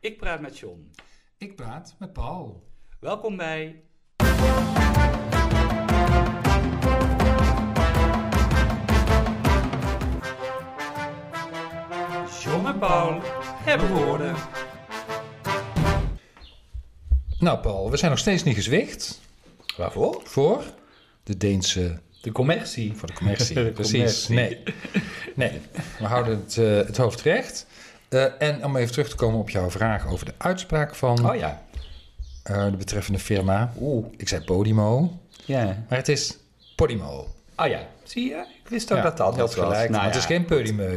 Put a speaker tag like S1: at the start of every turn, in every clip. S1: Ik praat met John.
S2: Ik praat met Paul.
S1: Welkom bij. John en Paul hebben woorden.
S2: Nou, Paul, we zijn nog steeds niet gezwicht
S3: Waarvoor?
S2: voor de Deense.
S3: De commercie.
S2: voor de commercie.
S3: De
S2: Precies.
S3: commercie.
S2: Nee. nee, we houden het, eh, het hoofd recht. Eh, en om even terug te komen op jouw vraag over de uitspraak van
S3: Oh ja.
S2: eh, de betreffende firma.
S3: Oeh.
S2: Ik zei Podimo,
S3: Ja.
S2: maar het is Podimo.
S3: Oh ja. Zie je? Ik wist ook
S2: Ja,
S3: dat dat
S2: je had
S3: anders was.
S2: gelijk.
S3: Nou
S2: want
S3: ja.
S2: Het is geen Podimo.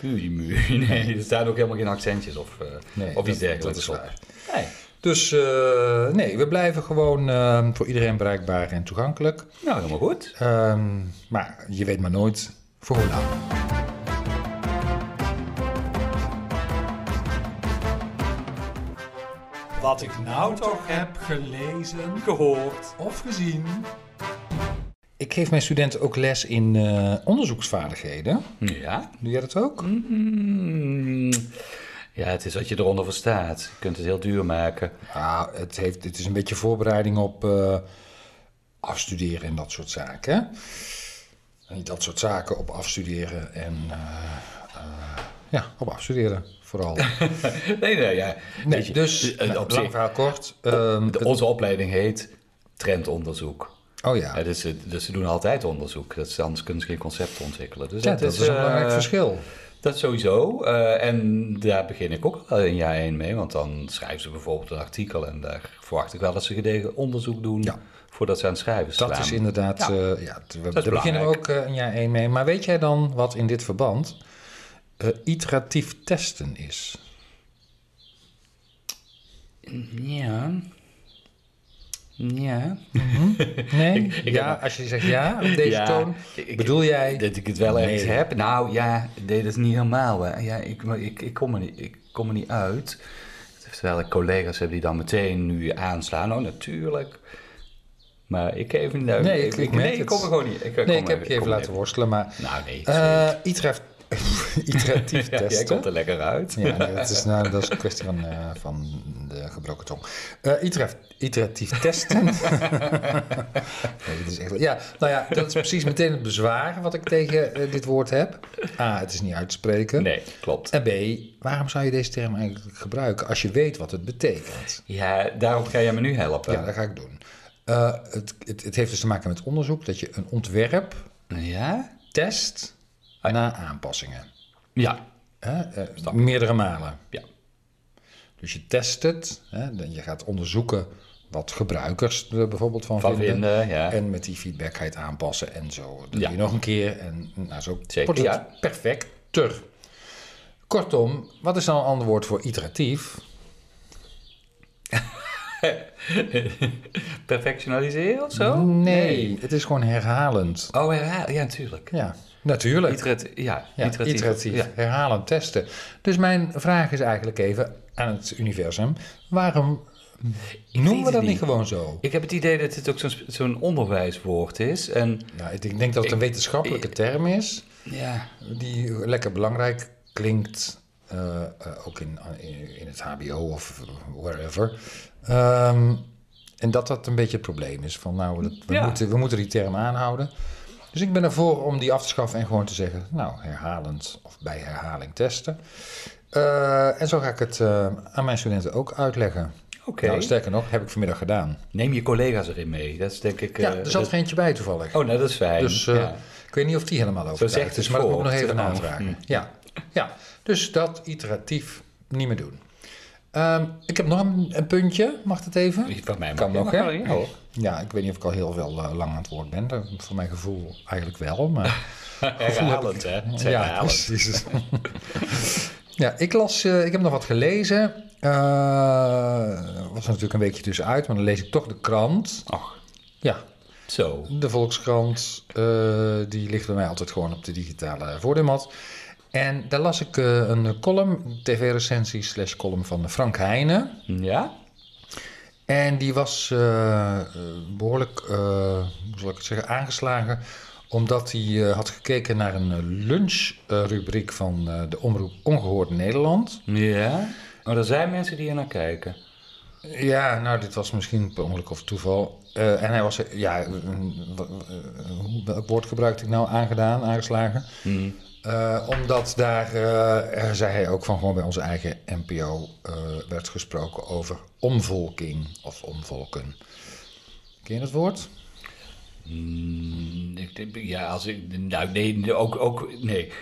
S3: Pudimu. Nee, er staan ook helemaal geen accentjes of, eh,
S2: Nee,
S3: of iets
S2: dat-
S3: dergelijks.
S2: dat is
S3: op.
S2: waar.
S3: Nee.
S2: Dus eh, nee, we blijven gewoon eh, voor iedereen bereikbaar en toegankelijk.
S3: Nou, helemaal goed.
S2: Ehm, maar je weet maar nooit voor hoe lang.
S1: Wat ik nou toch heb
S2: gelezen
S1: gehoord.
S2: of gezien. Ik geef mijn studenten ook les in eh, onderzoeksvaardigheden.
S3: Ja.
S2: Doe jij dat ook?
S3: Mm. Ja, het is wat je eronder verstaat. Je kunt het heel duur maken.
S2: Ja, het, heeft, het is een beetje voorbereiding op eh, afstuderen en dat soort zaken. En Niet dat soort zaken op afstuderen en eh, eh, ja, op afstuderen vooral.
S3: Nee, nee, ja. Weet
S2: Nee,
S3: je,
S2: dus,
S3: eh,
S2: nou,
S3: op
S2: lang
S3: zich,
S2: verhaal kort. ehm,
S3: de- onze opleiding heet trendonderzoek.
S2: oh ja,
S3: Ja, dus, eh, dus ze doen altijd onderzoek. Dat is, anders kunnen ze geen concepten ontwikkelen. Dus
S2: Ja, dat is een
S3: eh,
S2: belangrijk verschil.
S3: Dat sowieso. eh, en daar begin ik ook al in jaar 1 mee. Want dan schrijven ze bijvoorbeeld een artikel. En daar verwacht ik wel dat ze gedegen onderzoek doen
S2: Ja.
S3: voordat ze aan het schrijven staan.
S2: Dat is inderdaad,
S3: Ja.
S2: ja, ja t- we, daar beginnen we
S3: belangrijk.
S2: ook eh, een jaar één mee. Maar weet jij dan wat in dit verband eh, iteratief testen is?
S3: Ja. Ja.
S2: Nee?
S3: ik
S2: ja, als je zegt ja op deze
S3: Ja,
S2: toon,
S3: ik-
S2: bedoel jij...
S3: Dat ik het wel ergens
S2: Nee.
S3: heb. Nou ja, nee, dat is niet helemaal. waar. Ja, ik, maar ik, ik, kom er niet, ik kom er niet uit. Terwijl ik collega's heb die dan meteen nu aanslaan. Oh, natuurlijk. Maar ik even niet uit.
S2: Nee, ik- ik merk
S3: nee, ik
S2: het.
S3: kom er gewoon niet. Ik,
S2: nee, ik heb je even laten worstelen, maar...
S3: horen. Nou, nee. sorry.
S2: eh, itera- iteratief
S3: Ja, jij komt er
S2: testen...
S3: lekker uit.
S2: Ja, nee, dat, is, nou, dat is een kwestie van, eh, van de gebroken tong. Eh, itera- iteratief testen. nee, dit is echt, ja, nou ja, dat is precies meteen het bezwaar wat ik tegen eh, dit woord heb. A, het is niet uit te spreken.
S3: Nee, klopt.
S2: En B, waarom zou je deze term eigenlijk gebruiken als je weet wat het betekent?
S3: Ja, daarom ga jij me nu helpen.
S2: Ja, dat ga ik doen. Eh, het, het, het heeft dus te maken met onderzoek dat je een ontwerp
S3: Ja?
S2: test
S3: Ah,
S2: na aanpassingen.
S3: Ja.
S2: Hè, eh, meerdere malen.
S3: Ja.
S2: Dus je test het, hè, dan je gaat onderzoeken wat gebruikers er bijvoorbeeld van,
S3: Van
S2: vinden.
S3: vinden, ja.
S2: En met die feedback ga je het aanpassen en zo. Dat doe
S3: Ja.
S2: je nog een keer en nou, zo
S3: Zeker,
S2: wordt het
S3: ja.
S2: perfecter. Kortom, wat is dan een ander woord voor iteratief?
S3: Perfectionaliseren of zo?
S2: Nee, het is gewoon herhalend.
S3: Oh, herhalen. Ja, natuurlijk.
S2: Ja, natuurlijk.
S3: Iterat- ja,
S2: ja,
S3: iteratief.
S2: iteratief.
S3: Ja.
S2: Herhalend testen. Dus mijn vraag is eigenlijk even aan het universum: waarom noemen we
S3: het
S2: dat niet
S3: niet.
S2: gewoon zo?
S3: Ik heb het idee dat dit ook zo'n, zo'n onderwijswoord is. En
S2: Nou, ik denk dat het een wetenschappelijke term is
S3: ja,
S2: die lekker belangrijk klinkt. eh, eh, ook in, in, in het HBO of wherever. Ehm, en dat dat een beetje het probleem is. Van nou, dat- we,
S3: Ja.
S2: moeten, we moeten die term aanhouden. Dus ik ben ervoor om die af te schaffen en gewoon te zeggen: nou, herhalend of bij herhaling testen. Eh, en zo ga ik het eh, aan mijn studenten ook uitleggen.
S3: oké.
S2: Nou, sterker nog, heb ik vanmiddag gedaan.
S3: Neem je collega's erin mee. Dat is denk ik...
S2: Ja,
S3: eh,
S2: er zat
S3: dat-
S2: geen eentje bij toevallig.
S3: Oh, nou, dat is fijn.
S2: Dus eh,
S3: ja.
S2: ik weet niet of die helemaal
S3: zegt
S2: overtuigd
S3: het
S2: is, maar Hm. dat moet ik nog
S3: voort.
S2: even
S3: Oh,
S2: navragen. Ja. ja, dus dat iteratief niet meer doen. Ehm, ik heb nog een, een puntje, mag dat even?
S3: Van mij
S2: Kan
S3: mag-
S2: nog,
S3: Ja,
S2: hè?
S3: Ja, hoor.
S2: Ja, ik weet niet of ik al heel wel eh, lang aan het woord ben. Dat- Voor mijn gevoel eigenlijk wel, maar...
S3: Herhalend, hè? Het is herhalend.
S2: precies. ja, ik las, eh, ik heb nog wat gelezen. Eh was er natuurlijk een weekje tussenuit, maar dan lees ik toch de krant.
S3: Ach,
S2: Ja,
S3: zo.
S2: de Volkskrant, eh, die ligt bij mij altijd gewoon op de digitale voordeelmat. En daar las ik eh, een column, tv-recensie slash column van Frank Heijnen.
S3: Ja?
S2: En die was eh, eh, behoorlijk, eh, hoe zal ik het zeggen, aangeslagen. Omdat hij eh, had gekeken naar een lunchrubriek van eh, de Omroep Ongehoord Nederland.
S3: Ja? Oké. Maar er zijn mensen die er naar kijken.
S2: Ja, nou, dit was misschien per ongeluk of toeval. Eh, en hij was, eh, ja, een- w- eh, hoe- welk woord gebruikte ik nou? Aangedaan, aangeslagen. Eh, omdat daar, eh, er zei hij ook van, gewoon bij onze eigen NPO eh, werd gesproken over omvolking of omvolken. Ken je dat woord?
S3: Mm, ik denk- Ja, als ik. Nou, nee, ook, ook. Nee.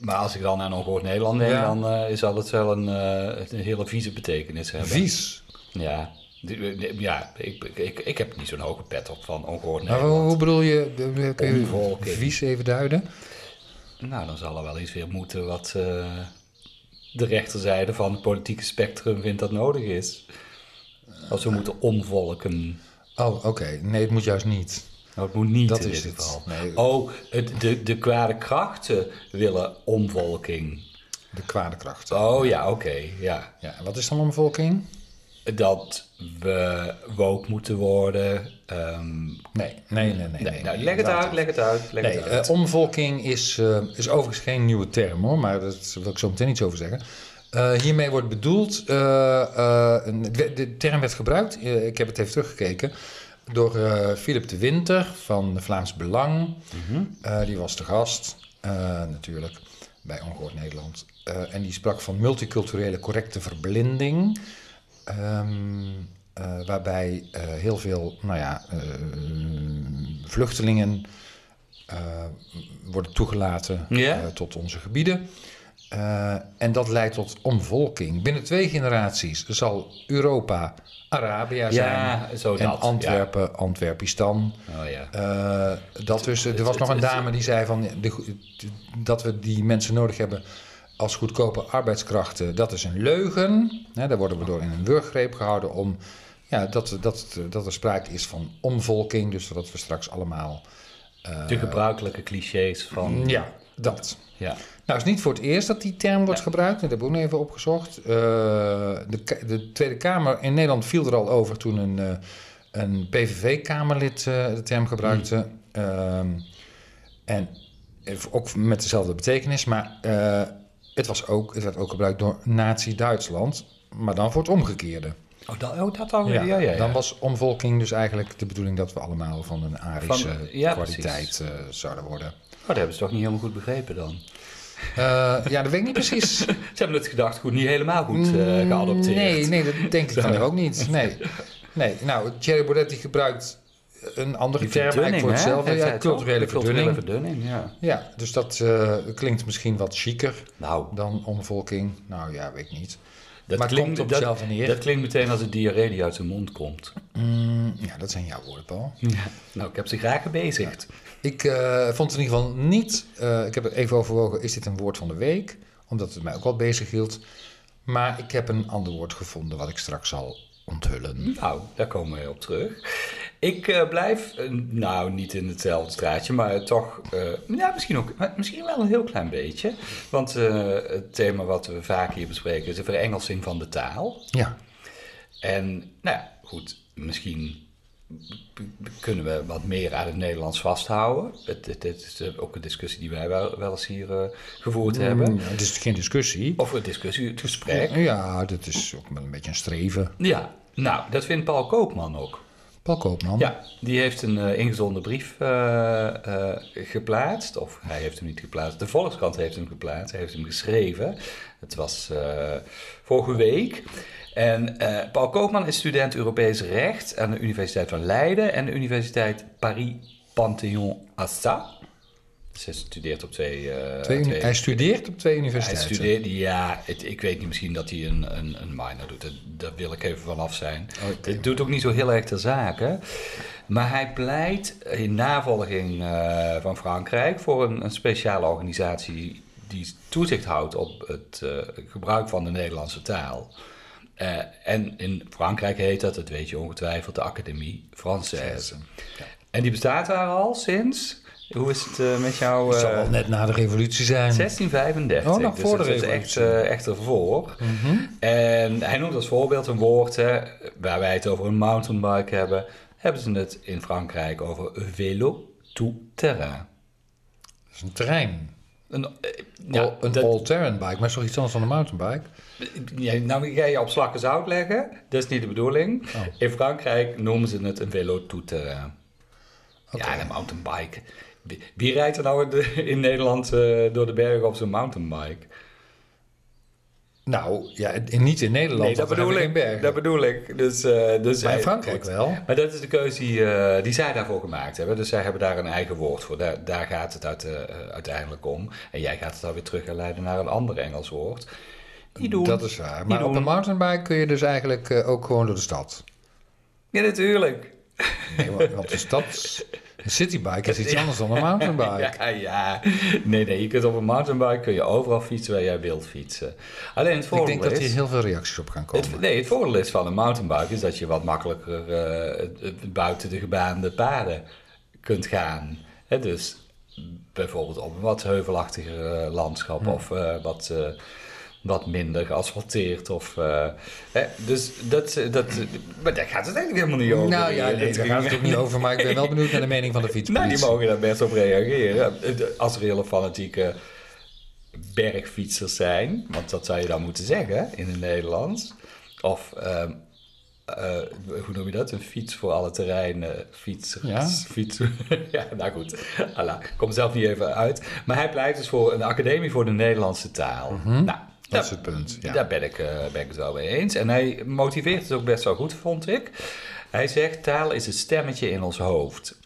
S3: Maar als ik dan aan ongehoord Nederland denk,
S2: Ja.
S3: dan eh, is dat het wel een, eh, een hele vieze betekenis hebben.
S2: Vies.
S3: Ja. Ja, ik, ik, ik heb niet zo'n hoge pet op van ongehoord
S2: Maar
S3: Nederland.
S2: Nou, hoe, hoe bedoel je, eh, kun je
S3: Omvolking.
S2: vies even duiden?
S3: Nou, dan zal er wel iets weer moeten wat eh, de rechterzijde van het politieke spectrum vindt dat nodig is. Als we moeten omvolken.
S2: Oh, oké. Nee, het moet juist niet.
S3: Nou, het moet niet
S2: Dat
S3: in
S2: is
S3: dit
S2: het.
S3: geval.
S2: Nee.
S3: Oh, het, de, de kwade krachten willen omvolking.
S2: De kwade kracht.
S3: Oh ja, oké, ja.
S2: Ja, en wat is dan omvolking?
S3: Dat we woke moeten worden. ehm,
S2: Nee, nee, nee. nee, nee.
S3: nou, leg het
S2: Laat
S3: uit, leg het uit, leg
S2: Nee,
S3: het uit.
S2: eh, omvolking is, eh, is overigens geen nieuwe term hoor, maar daar wil ik zo meteen iets over zeggen. Eh, hiermee wordt bedoeld, eh, eh, een- de, de term werd gebruikt, eh, ik heb het even teruggekeken, door eh, Philip de Winter van de Vlaams Belang. Eh, die was de gast, eh, natuurlijk, bij Ongehoord Nederland. Eh, en die sprak van multiculturele correcte verblinding. Ehm, eh, waarbij eh, heel veel nou ja, eh, vluchtelingen eh, worden toegelaten
S3: Ja.
S2: eh, tot onze gebieden. Eh, en dat leidt tot omvolking. Binnen twee generaties zal Europa Arabia zijn.
S3: ja, zo
S2: En
S3: dat.
S2: Antwerpen, Antwerpistan.
S3: Ja. Oh ja.
S2: Eh, dat dus, er was nog een dame die zei van, de, go- dat we die mensen nodig hebben als goedkope arbeidskrachten. Dat is een leugen. Hè, daar worden we door in een wurggreep gehouden om ja, dat, dat, dat er sprake is van omvolking. Dus dat we straks allemaal... eh,
S3: De gebruikelijke clichés van...
S2: ja, dat.
S3: ja.
S2: Nou, het is niet voor het eerst dat die term wordt gebruikt. Dat heb ik ook nog even opgezocht. Eh, de, K- de Tweede Kamer in Nederland viel er al over toen een, eh, een PVV-Kamerlid eh, de term gebruikte.
S3: Hmm.
S2: Ehm, en ev- ook met dezelfde betekenis. Maar eh, het, was ook, het werd ook gebruikt door Nazi-Duitsland. Maar dan voor het omgekeerde.
S3: Oh, dat, oh, dat dan? Ja, ja, ja.
S2: Dan was omvolking dus eigenlijk de bedoeling dat we allemaal van een Arische
S3: Van- ja,
S2: kwaliteit eh, zouden worden.
S3: Oh, dat hebben ze toch niet helemaal goed begrepen dan?
S2: Eh, ja, dat weet ik niet precies.
S3: Ze hebben het gedachtegoed niet helemaal goed eh,
S2: Mm,
S3: geadopteerd.
S2: Nee, nee, dat denk ik dan ook niet. Nee. nee. Nou, Thierry Baudet die gebruikt een andere
S3: Die
S2: term eigenlijk
S3: verdunning,
S2: voor
S3: hè?
S2: hetzelfde.
S3: Heeft hij
S2: Ja,
S3: het toch?
S2: culturele
S3: De culturele
S2: verdunning.
S3: verdunning, ja.
S2: Ja, dus dat eh, klinkt misschien wat chiquer
S3: Nou,
S2: dan omvolking. Nou ja, weet ik niet.
S3: dat
S2: maar het
S3: klinkt,
S2: komt op
S3: dat,
S2: hetzelfde neer.
S3: dat klinkt meteen als een diarree die uit zijn mond komt.
S2: Mm, ja, dat zijn jouw woorden, Paul.
S3: Nou, ik heb ze graag gebezigd.
S2: Ik eh, vond het in ieder geval niet... eh, ik heb het even overwogen, is dit een woord van de week? Omdat het mij ook wel bezig hield. Maar ik heb een ander woord gevonden wat ik straks zal onthullen.
S3: Nou, daar komen we op terug. Ik eh, blijf, eh, nou niet in hetzelfde straatje, maar toch, eh, ja, misschien, ook, maar misschien wel een heel klein beetje. Want eh, het thema wat we vaak hier bespreken is de verengelsing van de taal.
S2: Ja,
S3: En nou ja, goed, misschien b- b- kunnen we wat meer aan het Nederlands vasthouden. Het, het, het is eh, ook een discussie die wij wel, wel eens hier eh, gevoerd hebben.
S2: Mm, het is geen discussie.
S3: Of een discussie, het gesprek.
S2: Ja, dat is ook wel een beetje een streven.
S3: Ja, nou, dat vindt Paul Koopman ook.
S2: Paul Koopman.
S3: Ja, die heeft een eh, ingezonden brief eh, eh, geplaatst. Of hij heeft hem niet geplaatst. De Volkskrant heeft hem geplaatst. Hij heeft hem geschreven. Het was eh, vorige week. En eh, Paul Koopman is student Europees Recht aan de Universiteit van Leiden en de Universiteit Paris Panthéon Assas. Dus hij studeert op twee, eh,
S2: Twee uni- hij studeert op twee
S3: hij
S2: universiteiten.
S3: studeert, ja, het- ik weet niet, misschien dat hij een, een, een minor doet. Dat, daar wil ik even vanaf zijn.
S2: Oh, Oké.
S3: Het doet ook niet zo heel erg ter zake. Maar hij pleit in navolging eh, van Frankrijk voor een, een speciale organisatie die toezicht houdt op het eh, gebruik van de Nederlandse taal. Eh, en in Frankrijk heet dat, dat weet je ongetwijfeld, de Académie Française. En die bestaat daar al sinds. Hoe is het eh, met jouw.
S2: Het zal
S3: eh,
S2: wel net na de revolutie zijn.
S3: 1635.
S2: Oh, nog
S3: dus
S2: voor de
S3: dat is echt,
S2: revolutie. Mhm.
S3: eh, echt ervoor. En hij noemt als voorbeeld een woord hè, waar wij het over een mountainbike hebben. Hebben ze het in Frankrijk over vélo tout terrain.
S2: Dat is een trein.
S3: Een, eh, ja,
S2: Al- Oh, een oh.
S3: dat-
S2: all-terrain bike, maar is toch iets anders dan een mountainbike?
S3: Ja, nou, ga je op slakken zout leggen. Dat is niet de bedoeling.
S2: Oh.
S3: In Frankrijk noemen ze het een velotoeter. eh. Ja, een mountainbike. Wie, wie rijdt er nou in, de- in Nederland eh, door de bergen op zo'n mountainbike?
S2: Nou, ja, in- niet in Nederland.
S3: Nee, dat
S2: want daar
S3: bedoel
S2: hebben we geen
S3: ik.
S2: bergen.
S3: Dat bedoel ik. Dus, eh, dus,
S2: Maar in
S3: eh,
S2: Frankrijk
S3: goed.
S2: wel.
S3: Maar dat is de keuze die, eh, die zij daarvoor gemaakt hebben. Dus zij hebben daar een eigen woord voor. Daar, daar gaat het uit, eh, eh, uiteindelijk om. En jij gaat het dan weer terug herleiden naar een ander Engels woord. Die doen.
S2: Dat is waar.
S1: Die
S2: Maar op
S1: doen.
S2: een mountainbike kun je dus eigenlijk eh, ook gewoon door de stad.
S3: Ja, natuurlijk.
S2: Nee, want want de stad, een citybike is iets
S3: Ja.
S2: anders dan een mountainbike.
S3: Ja, ah, ja. Nee, nee, je kunt op een mountainbike kun je overal fietsen waar jij wilt fietsen. Alleen het
S2: Ik
S3: voordeel
S2: denk dat hier
S3: is...
S2: heel veel reacties op gaan komen.
S3: Het, nee, het voordeel is van een mountainbike is dat je wat makkelijker eh, het- het buiten de gebaande paden kunt gaan. Hè, dus bijvoorbeeld op een wat heuvelachtiger eh, landschap of eh, wat, eh, wat minder geasfalteerd. Of, eh, hè, dus dat, dat, maar daar gaat het eigenlijk helemaal niet over. Eh,
S2: nou ja,
S3: Hier.
S2: nee, daar gaat het ook niet over, maar ik ben wel benieuwd naar de mening van de
S3: Nou, die
S2: fietspolitie.
S3: mogen daar best op reageren. Als er hele fanatieke bergfietsers zijn, want dat zou je dan moeten zeggen in het Nederlands. Of, ehm, eh, hoe noem je dat? Een fiets voor alle terreinen. Fietsers.
S2: Ja.
S3: Fiets, ja, nou goed. Alla, ik kom zelf niet even uit. Maar hij pleit dus voor een academie voor de Nederlandse taal. Nou,
S2: Mhm. dat is
S3: daar-
S2: het punt. Ja.
S3: daar ben ik, eh, ben ik het wel mee eens. En hij motiveert het ook best wel goed, vond ik. Hij zegt, taal is het stemmetje in ons hoofd.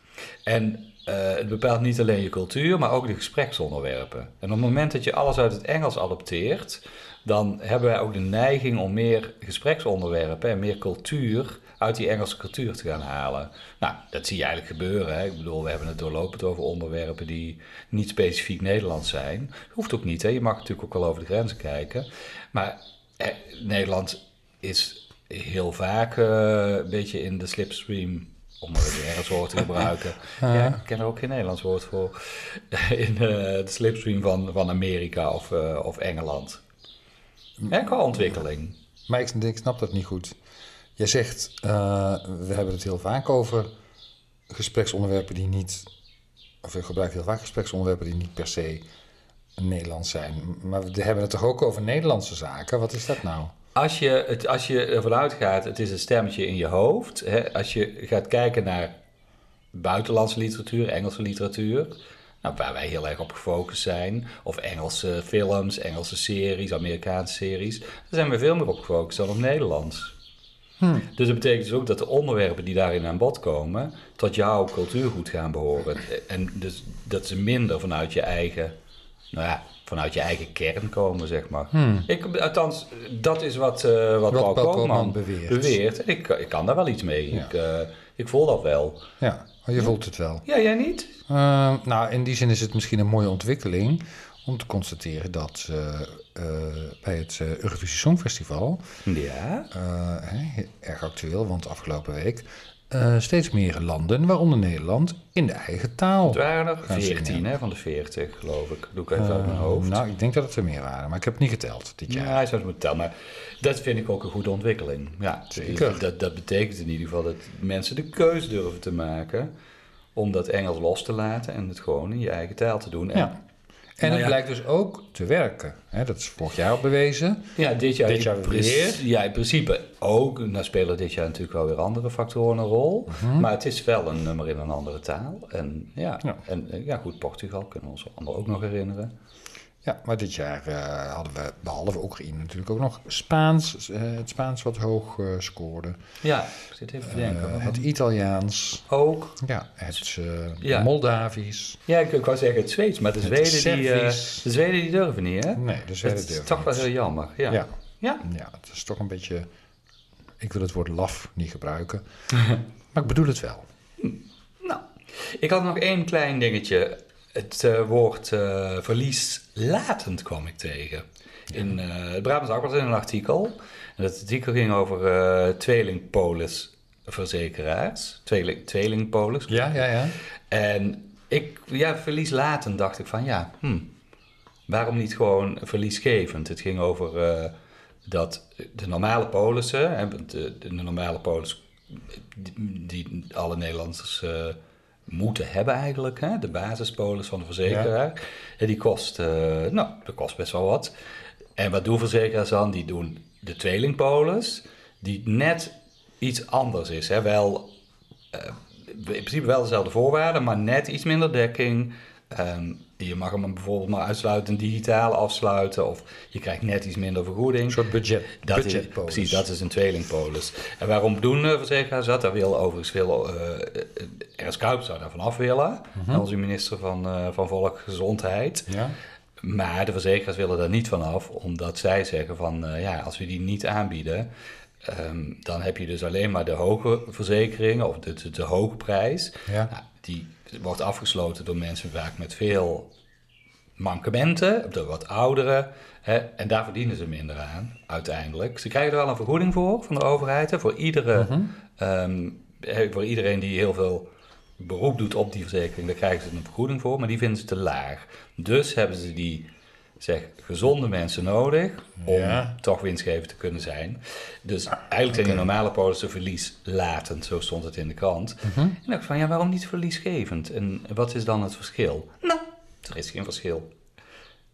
S3: En eh, het bepaalt niet alleen je cultuur, maar ook de gespreksonderwerpen. En op het moment dat je alles uit het Engels adopteert... dan hebben wij ook de neiging om meer gespreksonderwerpen... en meer cultuur uit die Engelse cultuur te gaan halen. Nou, dat zie je eigenlijk gebeuren. Hè? Ik bedoel, we hebben het doorlopend over onderwerpen die niet specifiek Nederlands zijn. Hoeft ook niet, hè? je mag natuurlijk ook wel over de grenzen kijken. Maar eh, Nederland is heel vaak eh, een beetje in de slipstream, om maar weer ergens woord te gebruiken. Ja, ik ken er ook geen Nederlands woord voor. in eh, de slipstream van, van Amerika of, eh, of Engeland. Ja, qua ontwikkeling.
S2: Maar ik, ik snap dat niet goed. Jij zegt, eh, we hebben het heel vaak over gespreksonderwerpen die niet... Of je gebruikt heel vaak gespreksonderwerpen die niet per se Nederlands zijn. Maar we hebben het toch ook over Nederlandse zaken? Wat is dat nou?
S3: Als je, het, als je ervan uitgaat, het is een stemmetje in je hoofd. Hè? Als je gaat kijken naar buitenlandse literatuur, Engelse literatuur, nou, waar wij heel erg op gefocust zijn, of Engelse films, Engelse series, Amerikaanse series, daar zijn we veel meer op gefocust dan op Nederlands. Dus dat betekent dus ook dat de onderwerpen die daarin aan bod komen, tot jouw cultuurgoed gaan behoren. En dus dat ze minder vanuit je eigen, nou ja, vanuit je eigen kern komen, zeg maar. Ik, althans, dat is wat, eh, Hm. wat, Paul, Koopman beweert.
S2: beweert.
S3: En ik, ik kan daar wel iets mee.
S2: Ja.
S3: Ik, eh, ik voel dat wel.
S2: Ja, oh, je voelt het wel.
S3: Ja, jij niet?
S2: Eh, nou, in die zin is het misschien een mooie ontwikkeling om te constateren dat eh, eh, bij het eh, Eurovisie Songfestival,
S3: Ja.
S2: eh, hè, erg actueel, want afgelopen week, eh, steeds meer landen, waaronder Nederland, in de eigen taal.
S3: Het waren er
S2: Gaan zingen.
S3: 14 hè, van de 40, geloof ik. Doe ik even uit mijn
S2: Eh,
S3: hoofd.
S2: nou, ik denk dat het er meer waren, maar ik heb het niet geteld dit
S3: ja,
S2: jaar.
S3: hij zou het moeten tellen. Maar dat vind ik ook een goede ontwikkeling. Ja,
S2: Zeker.
S3: Dat, dat betekent in ieder geval dat mensen de keus durven te maken om dat Engels los te laten en het gewoon in je eigen taal te doen. En,
S2: Ja. En
S3: Nou
S2: het
S3: ja.
S2: blijkt dus ook te werken. Hè, dat is vorig jaar al bewezen.
S3: Ja, dit jaar,
S2: Dit jaar
S3: in
S2: weer.
S3: princ- Ja, in principe ook. Nou spelen dit jaar natuurlijk wel weer andere factoren een rol. Maar het is wel een nummer in een andere taal. En ja,
S2: Mhm. Ja.
S3: En, eh, ja goed, Portugal kunnen we ons allemaal ook nog herinneren.
S2: Ja, maar dit jaar eh, hadden we behalve Oekraïne natuurlijk ook nog Spaans. eh, het Spaans wat hoog eh, scoorde.
S3: Ja, ik zit even te denken.
S2: Eh, het
S3: wat
S2: Italiaans.
S3: ook.
S2: Ja, het eh,
S3: Ja.
S2: Moldavisch.
S3: Ja, ik ik wou zeggen het Zweeds, maar de
S2: Het
S3: Zweden, die, eh,
S2: Servisch.
S3: de Zweden die durven niet, hè?
S2: Nee, dus
S3: Dat
S2: hele
S3: is
S2: durven
S3: toch wel
S2: niet.
S3: heel jammer. Ja.
S2: Ja.
S3: ja.
S2: Ja, het is toch een beetje... Ik wil het woord laf niet gebruiken. maar ik bedoel het wel.
S3: Nou, ik had nog één klein dingetje. Het eh, woord eh, verlieslatend kwam ik tegen. In eh, het Brabants Dagblad in een artikel. En dat artikel ging over eh tweelingpolisverzekeraars. Tweeling, tweelingpolis.
S2: Ja, ja, ja.
S3: En ik, ja, verlieslatend dacht ik van ja, hm, waarom niet gewoon verliesgevend? Het ging over eh, dat de normale polissen, hè, want de, de normale polis die, die alle Nederlanders eh, moeten hebben eigenlijk. Hè? De basispolis van de verzekeraar. En die kost, eh, nou, dat kost best wel wat. En wat doen verzekeraars dan? Die doen de tweelingpolis, die net iets anders is. Hè? Wel, eh, in principe wel dezelfde voorwaarden, maar net iets minder dekking. Ehm, je mag hem bijvoorbeeld maar uitsluitend digitaal afsluiten. Of je krijgt net iets minder vergoeding.
S2: Een soort budget,
S3: Dat is,
S2: budgetpolis.
S3: precies, dat is een tweelingpolis. En waarom doen eh, verzekeraars dat? Daar wil overigens veel... eh, eh, R.S. Kuip zou daarvan af willen.
S2: Mhm.
S3: Onze minister van, eh, van Volksgezondheid.
S2: Ja?
S3: Maar de verzekeraars willen daar niet van af. Omdat zij zeggen van... eh, ja, als we die niet aanbieden... ehm, dan heb je dus alleen maar de hoge verzekering... of de, de, de hoge prijs.
S2: Ja.
S3: Nou, die wordt afgesloten door mensen vaak met veel mankementen, de wat ouderen. Hè, en daar verdienen ze minder aan, uiteindelijk. Ze krijgen er wel een vergoeding voor van de overheid. Hè, voor, iedere, ehm, hè, voor iedereen die heel veel beroep doet op die verzekering, daar krijgen ze een vergoeding voor, maar die vinden ze te laag. Dus hebben ze die zeg, gezonde mensen nodig om
S2: Ja.
S3: toch winstgevend te kunnen zijn. Dus eigenlijk zijn die normale polissen verlieslatend, zo stond het in de krant. En ik dacht van, ja, waarom niet verliesgevend? En wat is dan het verschil? Nou, er is geen verschil.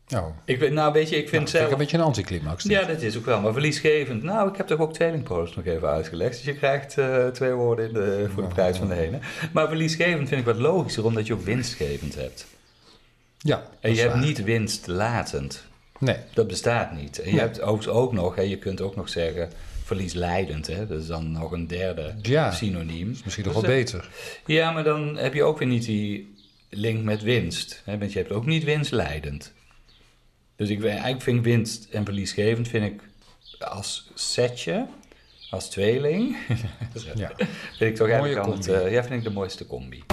S2: Nou,
S3: Ik weet, nou, weet je, ik vind
S2: vind ik
S3: zelf...
S2: een beetje een anticlimax.
S3: Ja, dat is ook wel, maar verliesgevend. Nou, ik heb toch ook tweelingpolis nog even uitgelegd. Dus je krijgt eh, twee woorden in de, voor de prijs van de ene. Maar verliesgevend vind ik wat logischer, omdat je ook winstgevend hebt.
S2: Ja, dat
S3: En
S2: is
S3: je hebt
S2: waar.
S3: niet winstlatend.
S2: Nee,
S3: Dat bestaat niet. En je hebt overigens ook nog, hè, je kunt ook nog zeggen verliesleidend. Hè? Dat is dan nog een derde
S2: Ja.
S3: synoniem.
S2: misschien
S3: Dus
S2: nog wel
S3: dat-
S2: beter.
S3: Ja, maar dan heb je ook weer niet die link met winst. Hè? Want je hebt ook niet winstleidend. Dus ik, we- eigenlijk vind ik winst en verliesgevend vind ik als setje, als tweeling,
S2: Ja.
S3: vind ik toch
S2: Mooie
S3: eigenlijk aan het,
S2: combi.
S3: eh, ja, vind ik de mooiste combi.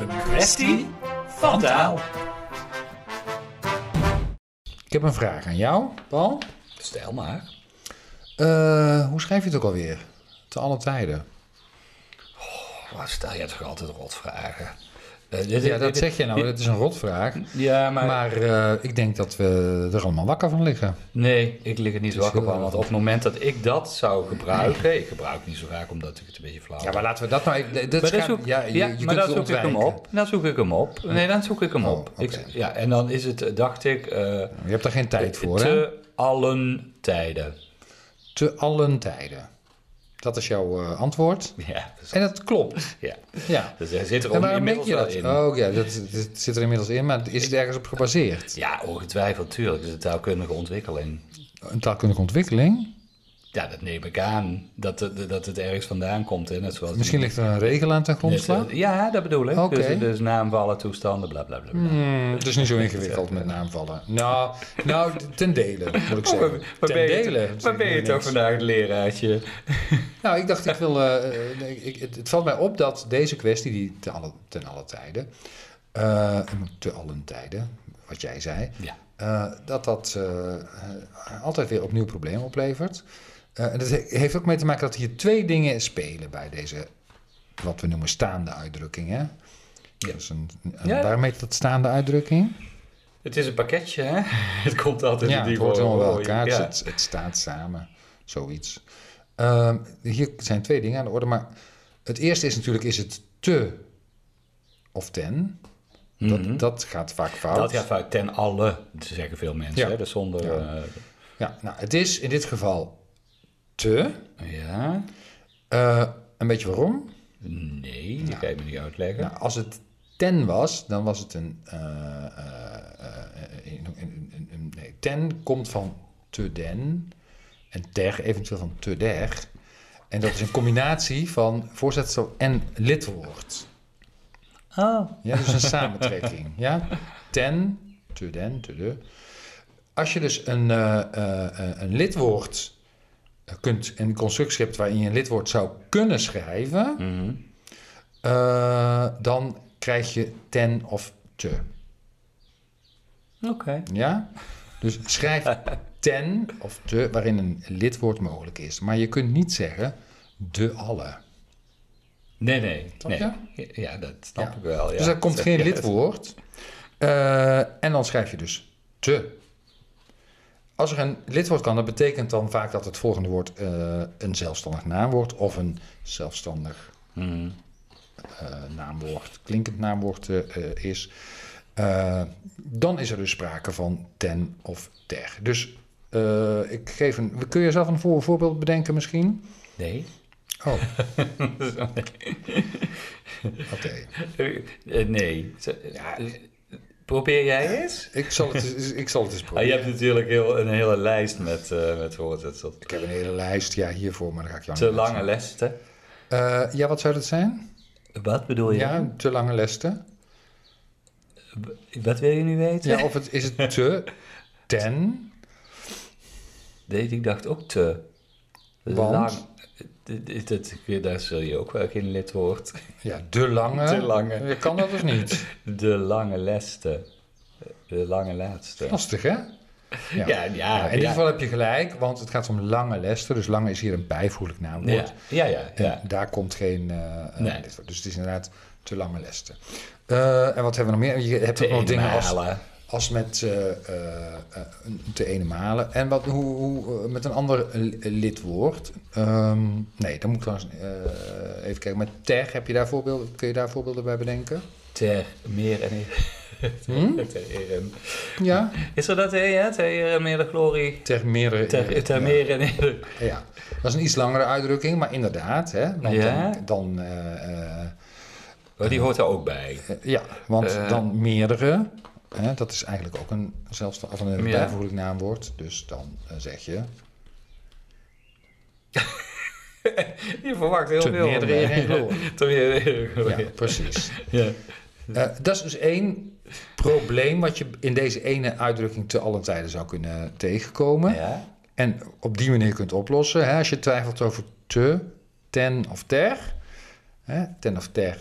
S1: Een kwestie van taal.
S2: Ik heb een vraag aan jou, Paul.
S3: Stel maar.
S2: Eh, hoe schrijf je het ook alweer? Te alle tijden.
S3: Wat stel jij toch altijd rotvragen? Eh, dit-
S2: Ja,
S3: dit-
S2: dat zeg je nou. Dat is een rotvraag.
S3: Ja, maar,
S2: Maar eh, ik denk dat we er allemaal wakker van liggen.
S3: nee, ik lig er niet zo
S2: is
S3: wakker
S2: heel
S3: van. Want op het moment dat ik dat zou gebruiken, ik gebruik het niet zo vaak omdat ik het een beetje flauw.
S2: Ja, maar laten we dat nou... ik- dat
S3: Maar dan
S2: gaat-
S3: zoek,
S2: ja, je, je kunt
S3: maar dan
S2: het
S3: zoek ik hem
S2: ontwijken. Oh,
S3: op. Dan zoek ik hem op. Nee, dan zoek ik hem op.
S2: oké.
S3: Ik- ja, en dan is het, eh, dacht ik, eh,
S2: Je hebt daar geen tijd voor, hè?
S3: te allen tijden.
S2: Te allen tijden. Dat is jouw eh, antwoord.
S3: Ja, dus,
S2: En dat klopt.
S3: ja.
S2: Ja.
S3: dus er zit er
S2: En
S3: on-
S2: waarom denk
S3: inmiddels
S2: je
S3: wel
S2: dat?
S3: in.
S2: Oh ja, dat, dat zit er inmiddels in, maar is het ergens op gebaseerd?
S3: Ja, ongetwijfeld, tuurlijk. Het is een taalkundige ontwikkeling.
S2: Een taalkundige ontwikkeling?
S3: Ja, dat neem ik aan. Dat, het- dat het ergens vandaan komt. Hè? Net zoals
S2: Misschien ligt er een regel aan ten grondslag?
S3: Net, eh, Ja, dat bedoel ik.
S2: Oké.
S3: Dus, dus naamvallen, toestanden, bla bla bla. bla.
S2: Hmm, het is niet zo ingewikkeld met naamvallen. Nou, nou ten dele, moet
S3: Oh,
S2: ik zeggen. ten dele.
S3: waar ben je toch vandaag, leraartje?
S2: Nou, ik dacht, ik wil. eh, eh, nee, ik, het, het valt mij op dat deze kwestie, die te alle, ten alle tijden. eh, te allen tijden, wat jij zei.
S3: Ja.
S2: eh, dat dat eh, eh, altijd weer opnieuw problemen oplevert. Eh, en dat he- heeft ook mee te maken dat hier twee dingen spelen bij deze, wat we noemen staande uitdrukkingen.
S3: Ja.
S2: Dus een, en
S3: Ja.
S2: Waarom heet dat staande uitdrukking?
S3: Het is een pakketje, hè? Het komt altijd
S2: ja,
S3: in die
S2: het hoort helemaal bij
S3: vorm.
S2: elkaar. dus
S3: Ja.
S2: Het, het staat samen, zoiets. Ehm, hier zijn twee dingen aan de orde, maar het eerste is natuurlijk, is het te of ten? Dat, dat gaat vaak fout.
S3: Mhm. Dat gaat vaak ten alle, zeggen veel mensen.
S2: Ja.
S3: Hè? Dus zonder... eh,
S2: Ja.
S3: Ja.
S2: Ja, nou, het is in dit geval te.
S3: ja?
S2: Eh, een beetje waarom?
S3: Nee, dat kan je me niet uitleggen.
S2: Nou, als het ten was, dan was het een... eh, eh, eh, een- een- een- een- nee, ten komt van te den en ter eventueel van te der. En dat is een combinatie van voorzetsel en lidwoord.
S3: Oh.
S2: Ja, dus een samentrekking. Ja? Ten, te den, te de. Als je dus een, eh, eh, eh, een lidwoord eh, kunt, een constructie hebt waarin je een lidwoord zou kunnen schrijven, eh, dan krijg je ten of te.
S3: Oké.
S2: Ja? Dus schrijf ten of te, waarin een lidwoord mogelijk is. Maar je kunt niet zeggen de alle.
S3: Nee, nee. nee.
S2: je?
S3: Ja, dat snap ik wel. Ja.
S2: Dus er komt geen lidwoord. Eh, en dan schrijf je dus te. Als er een lidwoord kan, dat betekent dan vaak dat het volgende woord eh, een zelfstandig naamwoord of een zelfstandig
S3: Hmm.
S2: eh, naamwoord, klinkend naamwoord eh, eh, is. Eh, dan is er dus sprake van ten of ter. Dus eh, ik geef een. Kun je zelf een voor- voorbeeld bedenken misschien?
S3: Nee.
S2: Oh. Oké.
S3: Eh, nee. Zo- eh, Probeer jij eens?
S2: Ik zal het eens- ik zal het eens
S3: Ah, je
S2: proberen.
S3: hebt natuurlijk heel, een hele lijst met, eh met woordwissels.
S2: Ik heb een hele lijst ja, hiervoor, maar daar ga ik jou
S3: Te
S2: niet uit
S3: lange lesten.
S2: zeggen. Eh, ja, wat zou dat zijn?
S3: Wat bedoel je?
S2: Ja, te lange lesten.
S3: Wat wil je nu weten?
S2: Ja, of het, is het te, ten,
S3: Nee, ik dacht ook te
S2: Want?
S3: lang. Dit- dit- dit- Daar zul je ook wel geen lidwoord.
S2: ja, de lange.
S3: Te lange.
S2: Je kan dat dus niet.
S3: De lange leste. De lange laatste.
S2: Lastig, hè?
S3: Ja, ja, ja.
S2: Ja, in ieder geval heb je gelijk, want het gaat om lange lesten. Dus lange is hier een bijvoeglijk naamwoord.
S3: Ja, ja, ja.
S2: En
S3: ja.
S2: daar komt geen eh, eh,
S3: Nee.
S2: lidwoord. Dus het is inderdaad te lange lesten. Eh, en wat hebben we nog meer? Je hebt
S3: Te
S2: ook nog dingen als,
S3: eenmalen.
S2: als met eh, eh, eh, te ene malen. En wat, hoe, hoe, eh, met een ander li- lidwoord. Ehm, nee, dan moet ik trouwens eh, even kijken. Met ter, heb je daar voorbeelden, kun je daar voorbeelden bij bedenken?
S3: Ter meer en eer.
S2: Hmm?
S3: Ter eer en-
S2: Ja,
S3: Is er dat heen, hè? Ter eer en meer de glorie.
S2: ter meerdere. eh,
S3: Ter, ter meer en eer.
S2: Ja, dat is een iets langere uitdrukking, maar inderdaad. Hè, want
S3: Ja?
S2: dan, dan, eh, eh,
S3: Oh, die hoort er ook bij.
S2: eh, ja, want
S3: Eh.
S2: dan meerdere, hè, dat is eigenlijk ook een, zelfs, of een
S3: Ja.
S2: bijvoeglijk naamwoord. Dus dan eh, zeg je
S3: Je verwacht heel
S2: te
S3: veel.
S2: meerdere eer en glorie.
S3: Ter meer en eer en
S2: Ja,
S3: glorie.
S2: precies.
S3: Ja.
S2: Eh, dat is dus één probleem wat je in deze ene uitdrukking te allen tijden zou kunnen tegenkomen.
S3: Ja.
S2: En op die manier kunt oplossen. Hè, als je twijfelt over te, ten of ter. Hè, ten of ter.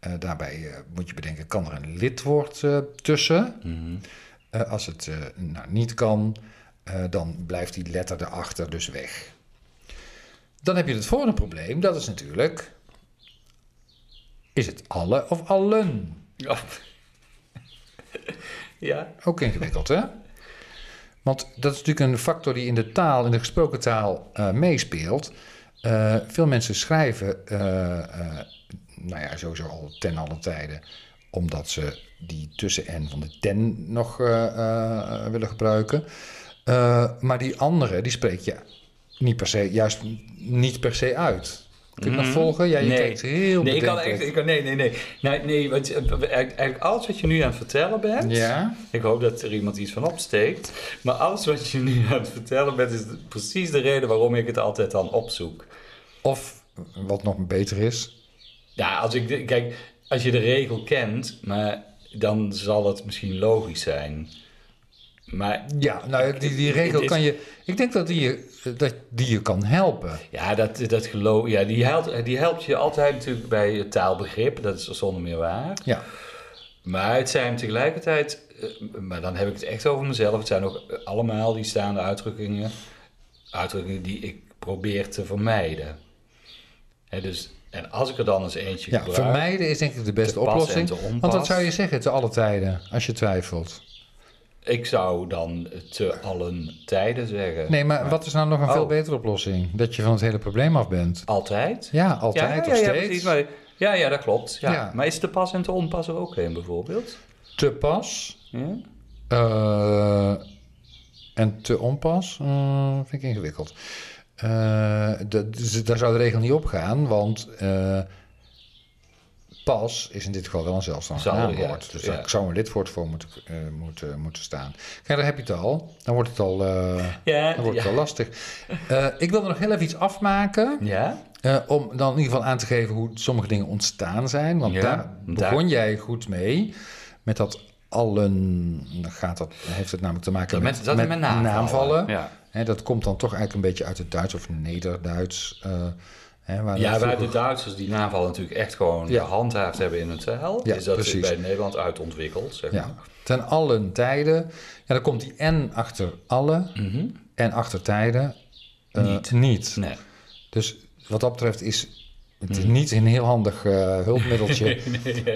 S2: eh, daarbij eh, moet je bedenken, kan er een lidwoord eh, tussen? Eh, als het eh, nou, niet kan, eh, dan blijft die letter erachter dus weg. Dan heb je het volgende probleem, dat is natuurlijk... Is het alle of allen?
S3: Ja. Ja.
S2: Ook ingewikkeld, hè? Want dat is natuurlijk een factor die in de taal, in de gesproken taal, eh, meespeelt. Eh, veel mensen schrijven, eh, eh, nou ja, sowieso al ten alle tijden, omdat ze die tussen en van de ten nog eh, eh, willen gebruiken. Eh, maar die andere, die spreek je niet per se, juist niet per se uit. Kun je me volgen? Ja, je
S3: Mhm. Nee.
S2: kijkt heel
S3: Nee, ik kan
S2: bedenkelijk.
S3: echt, ik kan, nee, nee, nee. Nee, nee want eh, eigenlijk eigenlijk alles wat je nu aan het vertellen bent,
S2: Ja?
S3: ik hoop dat er iemand iets van opsteekt, maar alles wat je nu aan het vertellen bent, is precies de reden waarom ik het altijd dan opzoek.
S2: Of, wat nog beter is,
S3: Ja, als ik, de- kijk, als je de regel kent, maar dan zal het misschien logisch zijn. Maar
S2: Ja, nou, die, die regel
S3: Dit-
S2: kan je. Ik denk dat die je, dat die je kan helpen.
S3: Ja, dat, dat geloof ja, die, helpt, die helpt je altijd natuurlijk bij het taalbegrip. Dat is zonder meer waar.
S2: Ja,
S3: Maar het zijn tegelijkertijd, eh, maar dan heb ik het echt over mezelf. Het zijn ook eh, allemaal die staande uitdrukkingen. Uitdrukkingen die ik probeer te vermijden. Hè, dus, en als ik er dan eens eentje
S2: ja
S3: gebruik.
S2: vermijden is denk ik de beste
S3: Te pas en
S2: oplossing.
S3: te onpas.
S2: Want wat zou je zeggen te alle tijden als je twijfelt?
S3: Ik zou dan te allen tijden zeggen.
S2: Nee, maar wat is nou nog een veel
S3: Oh.
S2: betere oplossing? Dat je van het hele probleem af bent.
S3: Altijd?
S2: Ja, altijd
S3: ja,
S2: of
S3: ja,
S2: steeds.
S3: precies, maar- ja, ja, dat klopt. Ja.
S2: Ja.
S3: Maar is te pas en te onpas er ook een bijvoorbeeld?
S2: Te pas
S3: Ja?
S2: eh, en te onpas eh, vind ik ingewikkeld. Eh, dat, dus daar zou de regel niet op gaan, want eh, pas is in dit geval wel een zelfstandig
S3: Zal,
S2: naamwoord.
S3: ja,
S2: dus
S3: ja.
S2: daar zou een lidwoord voor moeten, eh, moeten, moeten staan. Kijk, daar heb je het al. Dan wordt het al, eh,
S3: Ja,
S2: dan wordt het
S3: ja.
S2: al lastig. Eh, ik wil er nog heel even iets afmaken.
S3: Ja?
S2: Eh, om dan in ieder geval aan te geven hoe sommige dingen ontstaan zijn. Want
S3: Ja,
S2: daar
S3: daar-
S2: begon jij goed mee. Met dat allen gaat dat, heeft het namelijk te maken met,
S3: Met, dat met naamvallen. Ja,
S2: Hè, dat komt dan toch eigenlijk een beetje uit het Duits of Nederduits. eh, hè, waar
S3: ja
S2: dat
S3: waar de
S2: vroeger-
S3: Duitsers die naamvallen natuurlijk echt gewoon
S2: Ja.
S3: gehandhaafd hebben in hun taal,
S2: Ja,
S3: is dat dus
S2: precies.
S3: bij Nederland uit ontwikkeld. Zeg
S2: ja,
S3: maar.
S2: ten allen tijden. Ja, dan komt die en achter alle
S3: Mhm.
S2: en achter tijden eh,
S3: Niet.
S2: niet.
S3: Nee. Mm.
S2: Dus wat dat betreft is het niet een heel handig eh, hulpmiddeltje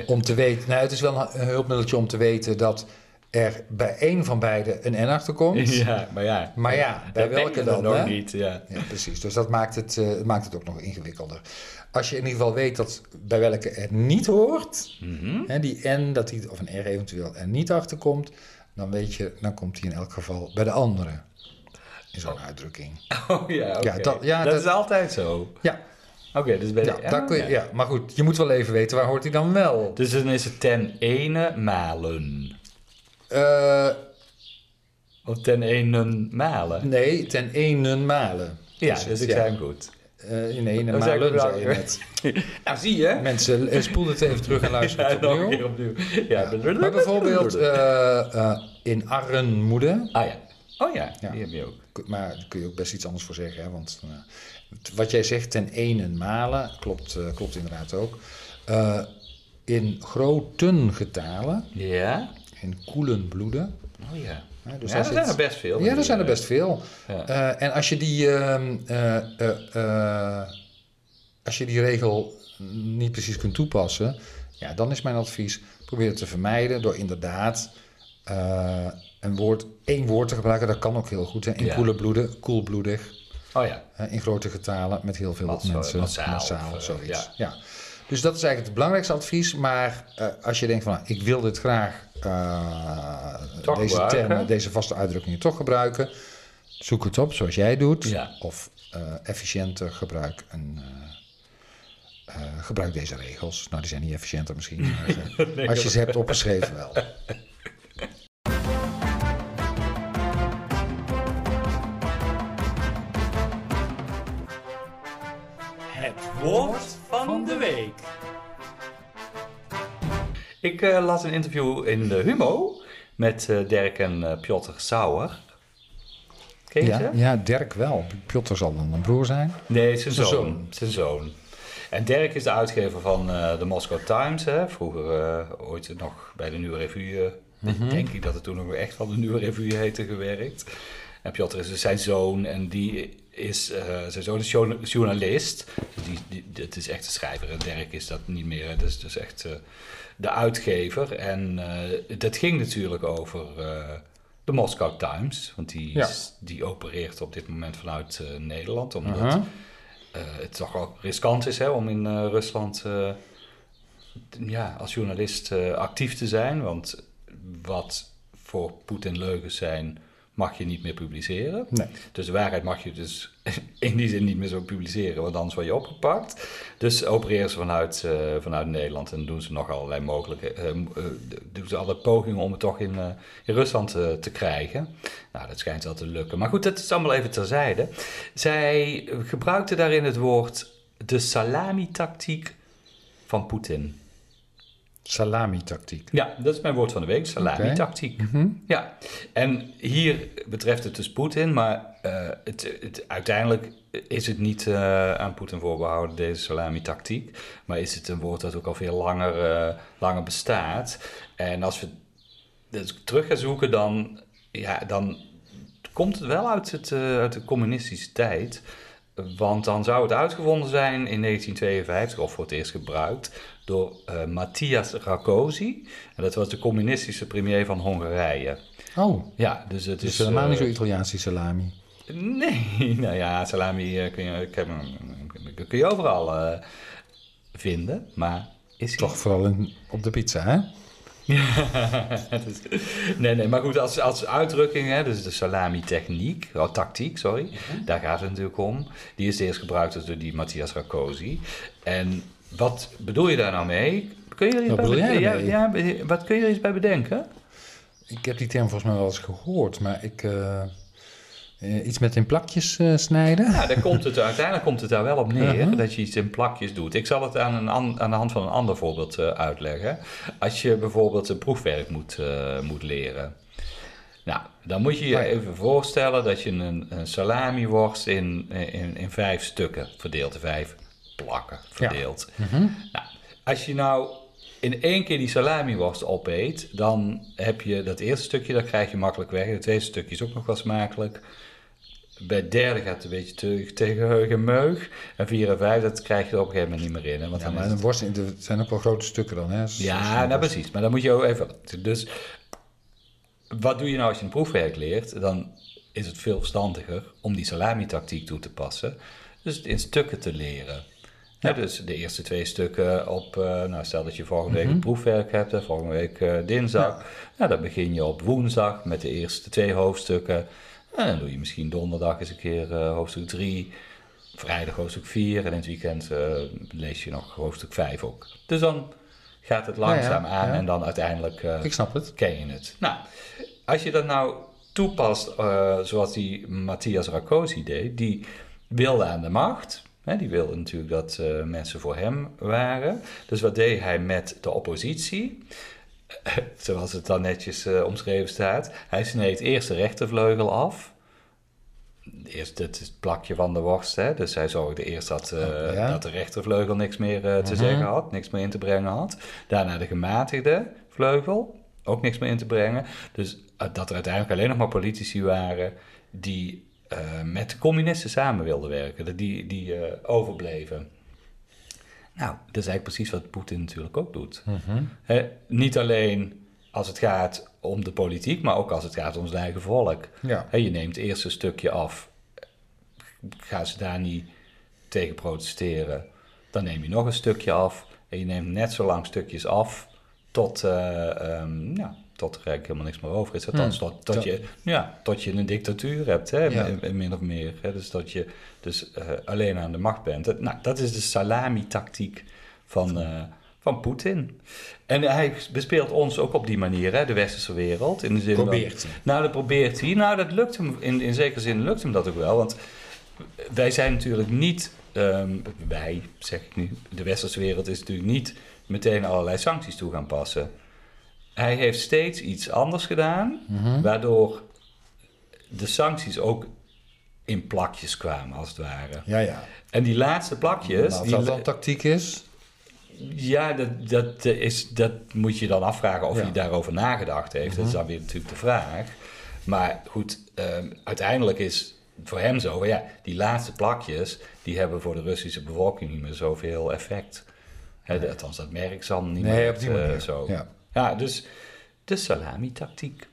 S2: om te weten. Nou, het is wel een hulpmiddeltje om te weten dat er bij één van beide een N achter komt.
S3: Ja, maar ja.
S2: Maar ja, bij
S3: dat denk
S2: welke
S3: je
S2: dan?
S3: ook
S2: hè?
S3: niet, ja.
S2: Ja, precies. Dus dat maakt het, eh, maakt het ook nog ingewikkelder. Als je in ieder geval weet dat bij welke er niet hoort,
S3: Mhm.
S2: hè, die N, dat die, of een R eventueel er niet achter komt, dan weet je, dan komt die in elk geval bij de andere. In zo'n uitdrukking.
S3: Oh ja, oké.
S2: Ja, dat- ja,
S3: dat,
S2: dat-
S3: is altijd zo. Oké,
S2: Ja,
S3: dus bij
S2: ja,
S3: de
S2: daar kun je, ja, maar goed, je moet wel even weten waar hoort hij dan wel.
S3: Dus dan is het ten ene malen.
S2: Eh,
S3: Of ten ene malen.
S2: nee, ten enen malen.
S3: Ja,
S2: Is
S3: dus,
S2: het,
S3: ik
S2: ja.
S3: zei hem goed.
S2: Eh, in ene
S3: Dat is
S2: malen,
S3: eigenlijk
S2: zei je
S3: wel-
S2: net.
S3: Nou, zie je?
S2: Mensen, eh, spoel het even terug en luister
S3: Ja,
S2: het
S3: nog een
S2: opnieuw.
S3: keer opnieuw. Ja,
S2: Maar bijvoorbeeld eh, eh, in armoede,
S3: Ah ja. Oh ja,
S2: Ja.
S3: die heb je ook.
S2: k- maar daar kun je ook best iets anders voor zeggen. Hè? Want eh, t- wat jij zegt ten enen malen, klopt, eh, klopt inderdaad ook. Eh, in groten getalen,
S3: Ja?
S2: in koelen bloeden.
S3: Oh ja.
S2: Hè?
S3: Dus
S2: Dus
S3: ja,
S2: daar
S3: er
S2: zit-
S3: zijn er best veel. eh,
S2: Ja, er zijn er best veel.
S3: Ja.
S2: Eh, en als je die, ehm, eh, eh, eh, als je die regel niet precies kunt toepassen, ja, dan is mijn advies: probeer het te vermijden door inderdaad eh, een woord, één woord te gebruiken. Dat kan ook heel goed. Hè? In
S3: Ja.
S2: koele bloeden, koelbloedig,
S3: Oh ja.
S2: hè, in grote getalen met heel veel
S3: Massaal,
S2: mensen.
S3: massaal, of, eh,
S2: zoiets. Ja. Dus dat is eigenlijk het belangrijkste advies. Maar eh, als je denkt van, nou, ik wil dit graag, eh,
S3: Toch
S2: deze
S3: gebruiken.
S2: termen, deze vaste uitdrukkingen toch gebruiken, zoek het op zoals jij doet.
S3: Ja.
S2: Of eh, efficiënter gebruik een... eh, eh, gebruik deze regels. Nou, die zijn niet efficiënter misschien. maar, eh, als je ze hebt opgeschreven wel.
S1: Het woord van de week.
S3: Ik eh, las een interview in de Humo met eh, Dirk en eh, Piotr Sauer. Ken je ze?
S2: Ja, ja, Dirk wel. Piotr zal dan een broer zijn.
S3: Nee, zijn
S2: Zijn
S3: zoon.
S2: zoon.
S3: Zijn zoon. En Dirk is de uitgever van eh, de Moscow Times. Hè? Vroeger eh, ooit nog bij de Nieuwe Revue. eh,
S2: Mhm.
S3: Denk ik dat het toen nog echt van de Nieuwe Revue heette gewerkt. En Piotr is dus zijn zoon. En die is, eh, zijn zoon is journa- journalist. Dus die, die, het is echt een schrijver. En Dirk is dat niet meer. hè. Dat is dus echt eh, de uitgever. En eh, dat ging natuurlijk over eh, de Moscow Times. Want die,
S2: Ja.
S3: is- die opereert op dit moment vanuit eh, Nederland. Omdat
S2: Aha.
S3: eh, het toch wel riskant is hè, om in eh, Rusland eh, t- ja, als journalist eh, actief te zijn. Want wat voor Poetin leugens zijn, mag je niet meer publiceren.
S2: Nee.
S3: Dus de waarheid mag je dus in die zin niet meer zo publiceren, want anders word je opgepakt. Dus opereren ze vanuit, eh, vanuit Nederland en doen ze nog allerlei mogelijke, eh, m- eh, doen ze alle pogingen om het toch in, eh, in Rusland eh, te krijgen. Nou, dat schijnt wel te lukken. Maar goed, dat is allemaal even terzijde. Zij gebruikte daarin het woord de salami-tactiek van Poetin.
S2: Salami-tactiek.
S3: Ja, dat is mijn woord van de week, salami-tactiek. Ja, en hier betreft het dus Poetin, maar eh, het, het, uiteindelijk is het niet eh, aan Poetin voorbehouden, deze salami-tactiek. Maar is het een woord dat ook al veel langer, eh, langer bestaat. En als we dus terug gaan zoeken, dan, ja, dan komt het wel uit, het, eh, uit de communistische tijd. Want dan zou het uitgevonden zijn in 1952, of voor het eerst gebruikt, door eh, Matthias Rakosi. En dat was de communistische premier van Hongarije.
S2: Oh,
S3: Ja, dus het
S2: dus
S3: is...
S2: helemaal niet
S3: eh,
S2: zo Italiaans die salami.
S3: Nee, nou ja, salami eh, kun, je, kun, je, kun je overal eh, vinden, maar is hij
S2: Toch vooral in, op de pizza, hè?
S3: Het is- nee, nee, maar goed, als, als uitdrukking, hè, dus de salami-techniek, oh, tactiek, sorry, daar gaat het natuurlijk om. Die is eerst gebruikt dus door die Matthias Rakosi. En wat bedoel je daar nou mee? Kun je er iets
S2: Wat
S3: bij
S2: bedoel jij
S3: bede-
S2: daarmee?
S3: ja, ja, wat kun je er iets bij bedenken?
S2: Ik heb die term volgens mij wel eens gehoord, maar ik... eh, eh, iets met in plakjes eh, snijden?
S3: Nou, daar komt het, uiteindelijk komt het daar wel op neer dat je iets in plakjes doet. Ik zal het aan, een, an- aan de hand van een ander voorbeeld eh, uitleggen. Als je bijvoorbeeld een proefwerk moet, eh, moet leren. Nou, dan moet je je even voorstellen dat je een, een salami-worst in, in, in vijf stukken verdeelt. in Vijf plakken verdeeld.
S2: Mhm.
S3: Nou, als je nou in één keer die salami-worst opeet, dan heb je dat eerste stukje, dat krijg je makkelijk weg. Het tweede stukje is ook nog wel smakelijk. Bij het derde gaat het een beetje te- tegen heug en meug. En vier en vijf, dat krijg je er op een gegeven moment niet meer in. Hè, want
S2: Ja,
S3: dan
S2: maar
S3: is
S2: een worst in- er zijn ook wel grote stukken dan, hè?
S3: ja, nou precies. Maar dan moet je ook even. Dus wat doe je nou als je een proefwerk leert? Dan is het veel verstandiger om die salamitactiek toe te passen. Dus het in stukken te leren. Hè, dus de eerste twee stukken op, eh, nou stel dat je volgende
S2: Mhm.
S3: week een proefwerk hebt, hè, volgende week eh, dinsdag. Nou, dan begin je op woensdag met de eerste twee hoofdstukken. En dan doe je misschien donderdag eens een keer eh, hoofdstuk 3, vrijdag hoofdstuk 4 en in het weekend eh, lees je nog hoofdstuk 5 ook. Dus dan gaat het
S2: ja,
S3: langzaam aan
S2: ja.
S3: en dan uiteindelijk eh,
S2: Ik snap het.
S3: ken je het. Nou, als je dat nou toepast eh, zoals die Matthias Rakosi deed, die wilde aan de macht. Hè, die wilde natuurlijk dat eh, mensen voor hem waren. Dus wat deed hij met de oppositie? Zoals het dan netjes eh, omschreven staat. Hij sneed eerst de rechtervleugel af. Eerst het, het plakje van de worst. Hè? Dus hij zorgde eerst dat, eh,
S2: Oh, ja.
S3: dat de rechtervleugel niks meer eh, te zeggen had. Niks meer in te brengen had. Daarna de gematigde vleugel. Ook niks meer in te brengen. Dus eh, dat er uiteindelijk alleen nog maar politici waren die eh, met de communisten samen wilden werken. Dat Die, die eh, overbleven. Nou, dat is eigenlijk precies wat Poetin natuurlijk ook doet. Hè, niet alleen als het gaat om de politiek, maar ook als het gaat om zijn eigen volk.
S2: Ja.
S3: Hè, je neemt eerst een stukje af. Gaan ze daar niet tegen protesteren? Dan neem je nog een stukje af. En je neemt net zo lang stukjes af tot, eh, ehm, ja, tot er eigenlijk helemaal niks meer over is. Althans, tot, tot,
S2: Tot-
S3: je, ja, tot je een dictatuur hebt, hè,
S2: Ja.
S3: min- min of meer. Hè. Dus dat je dus, eh, alleen aan de macht bent. Dat, nou, dat is de salami-tactiek van, eh, van Poetin. En hij bespeelt ons ook op die manier, hè, de westerse wereld. In de zin van-
S2: Probeert hij.
S3: nou, dat probeert hij. Nou, dat lukt hem. In, in zekere zin lukt hem dat ook wel. Want wij zijn natuurlijk niet. ehm, wij, zeg ik nu. De westerse wereld is natuurlijk niet meteen allerlei sancties toe gaan passen. Hij heeft steeds iets anders gedaan, waardoor de sancties ook in plakjes kwamen, als het ware.
S2: Ja, Nou, ja.
S3: En die laatste plakjes.
S2: Maar of
S3: die
S2: dat
S3: la-
S2: dan tactiek is?
S3: ja, dat, dat, eh, is, dat moet je dan afvragen of
S2: Ja. Mhm.
S3: hij daarover nagedacht heeft. Dat is dan weer natuurlijk de vraag. Maar goed, ehm, uiteindelijk is het voor hem zo, ja, die laatste plakjes, die hebben voor de Russische bevolking niet meer zoveel effect. Hè, de- Althans, dat merk ze dan niet
S2: Nee,
S3: meer.
S2: op die
S3: eh,
S2: manier,
S3: zo.
S2: ja.
S3: dus de salami-tactiek.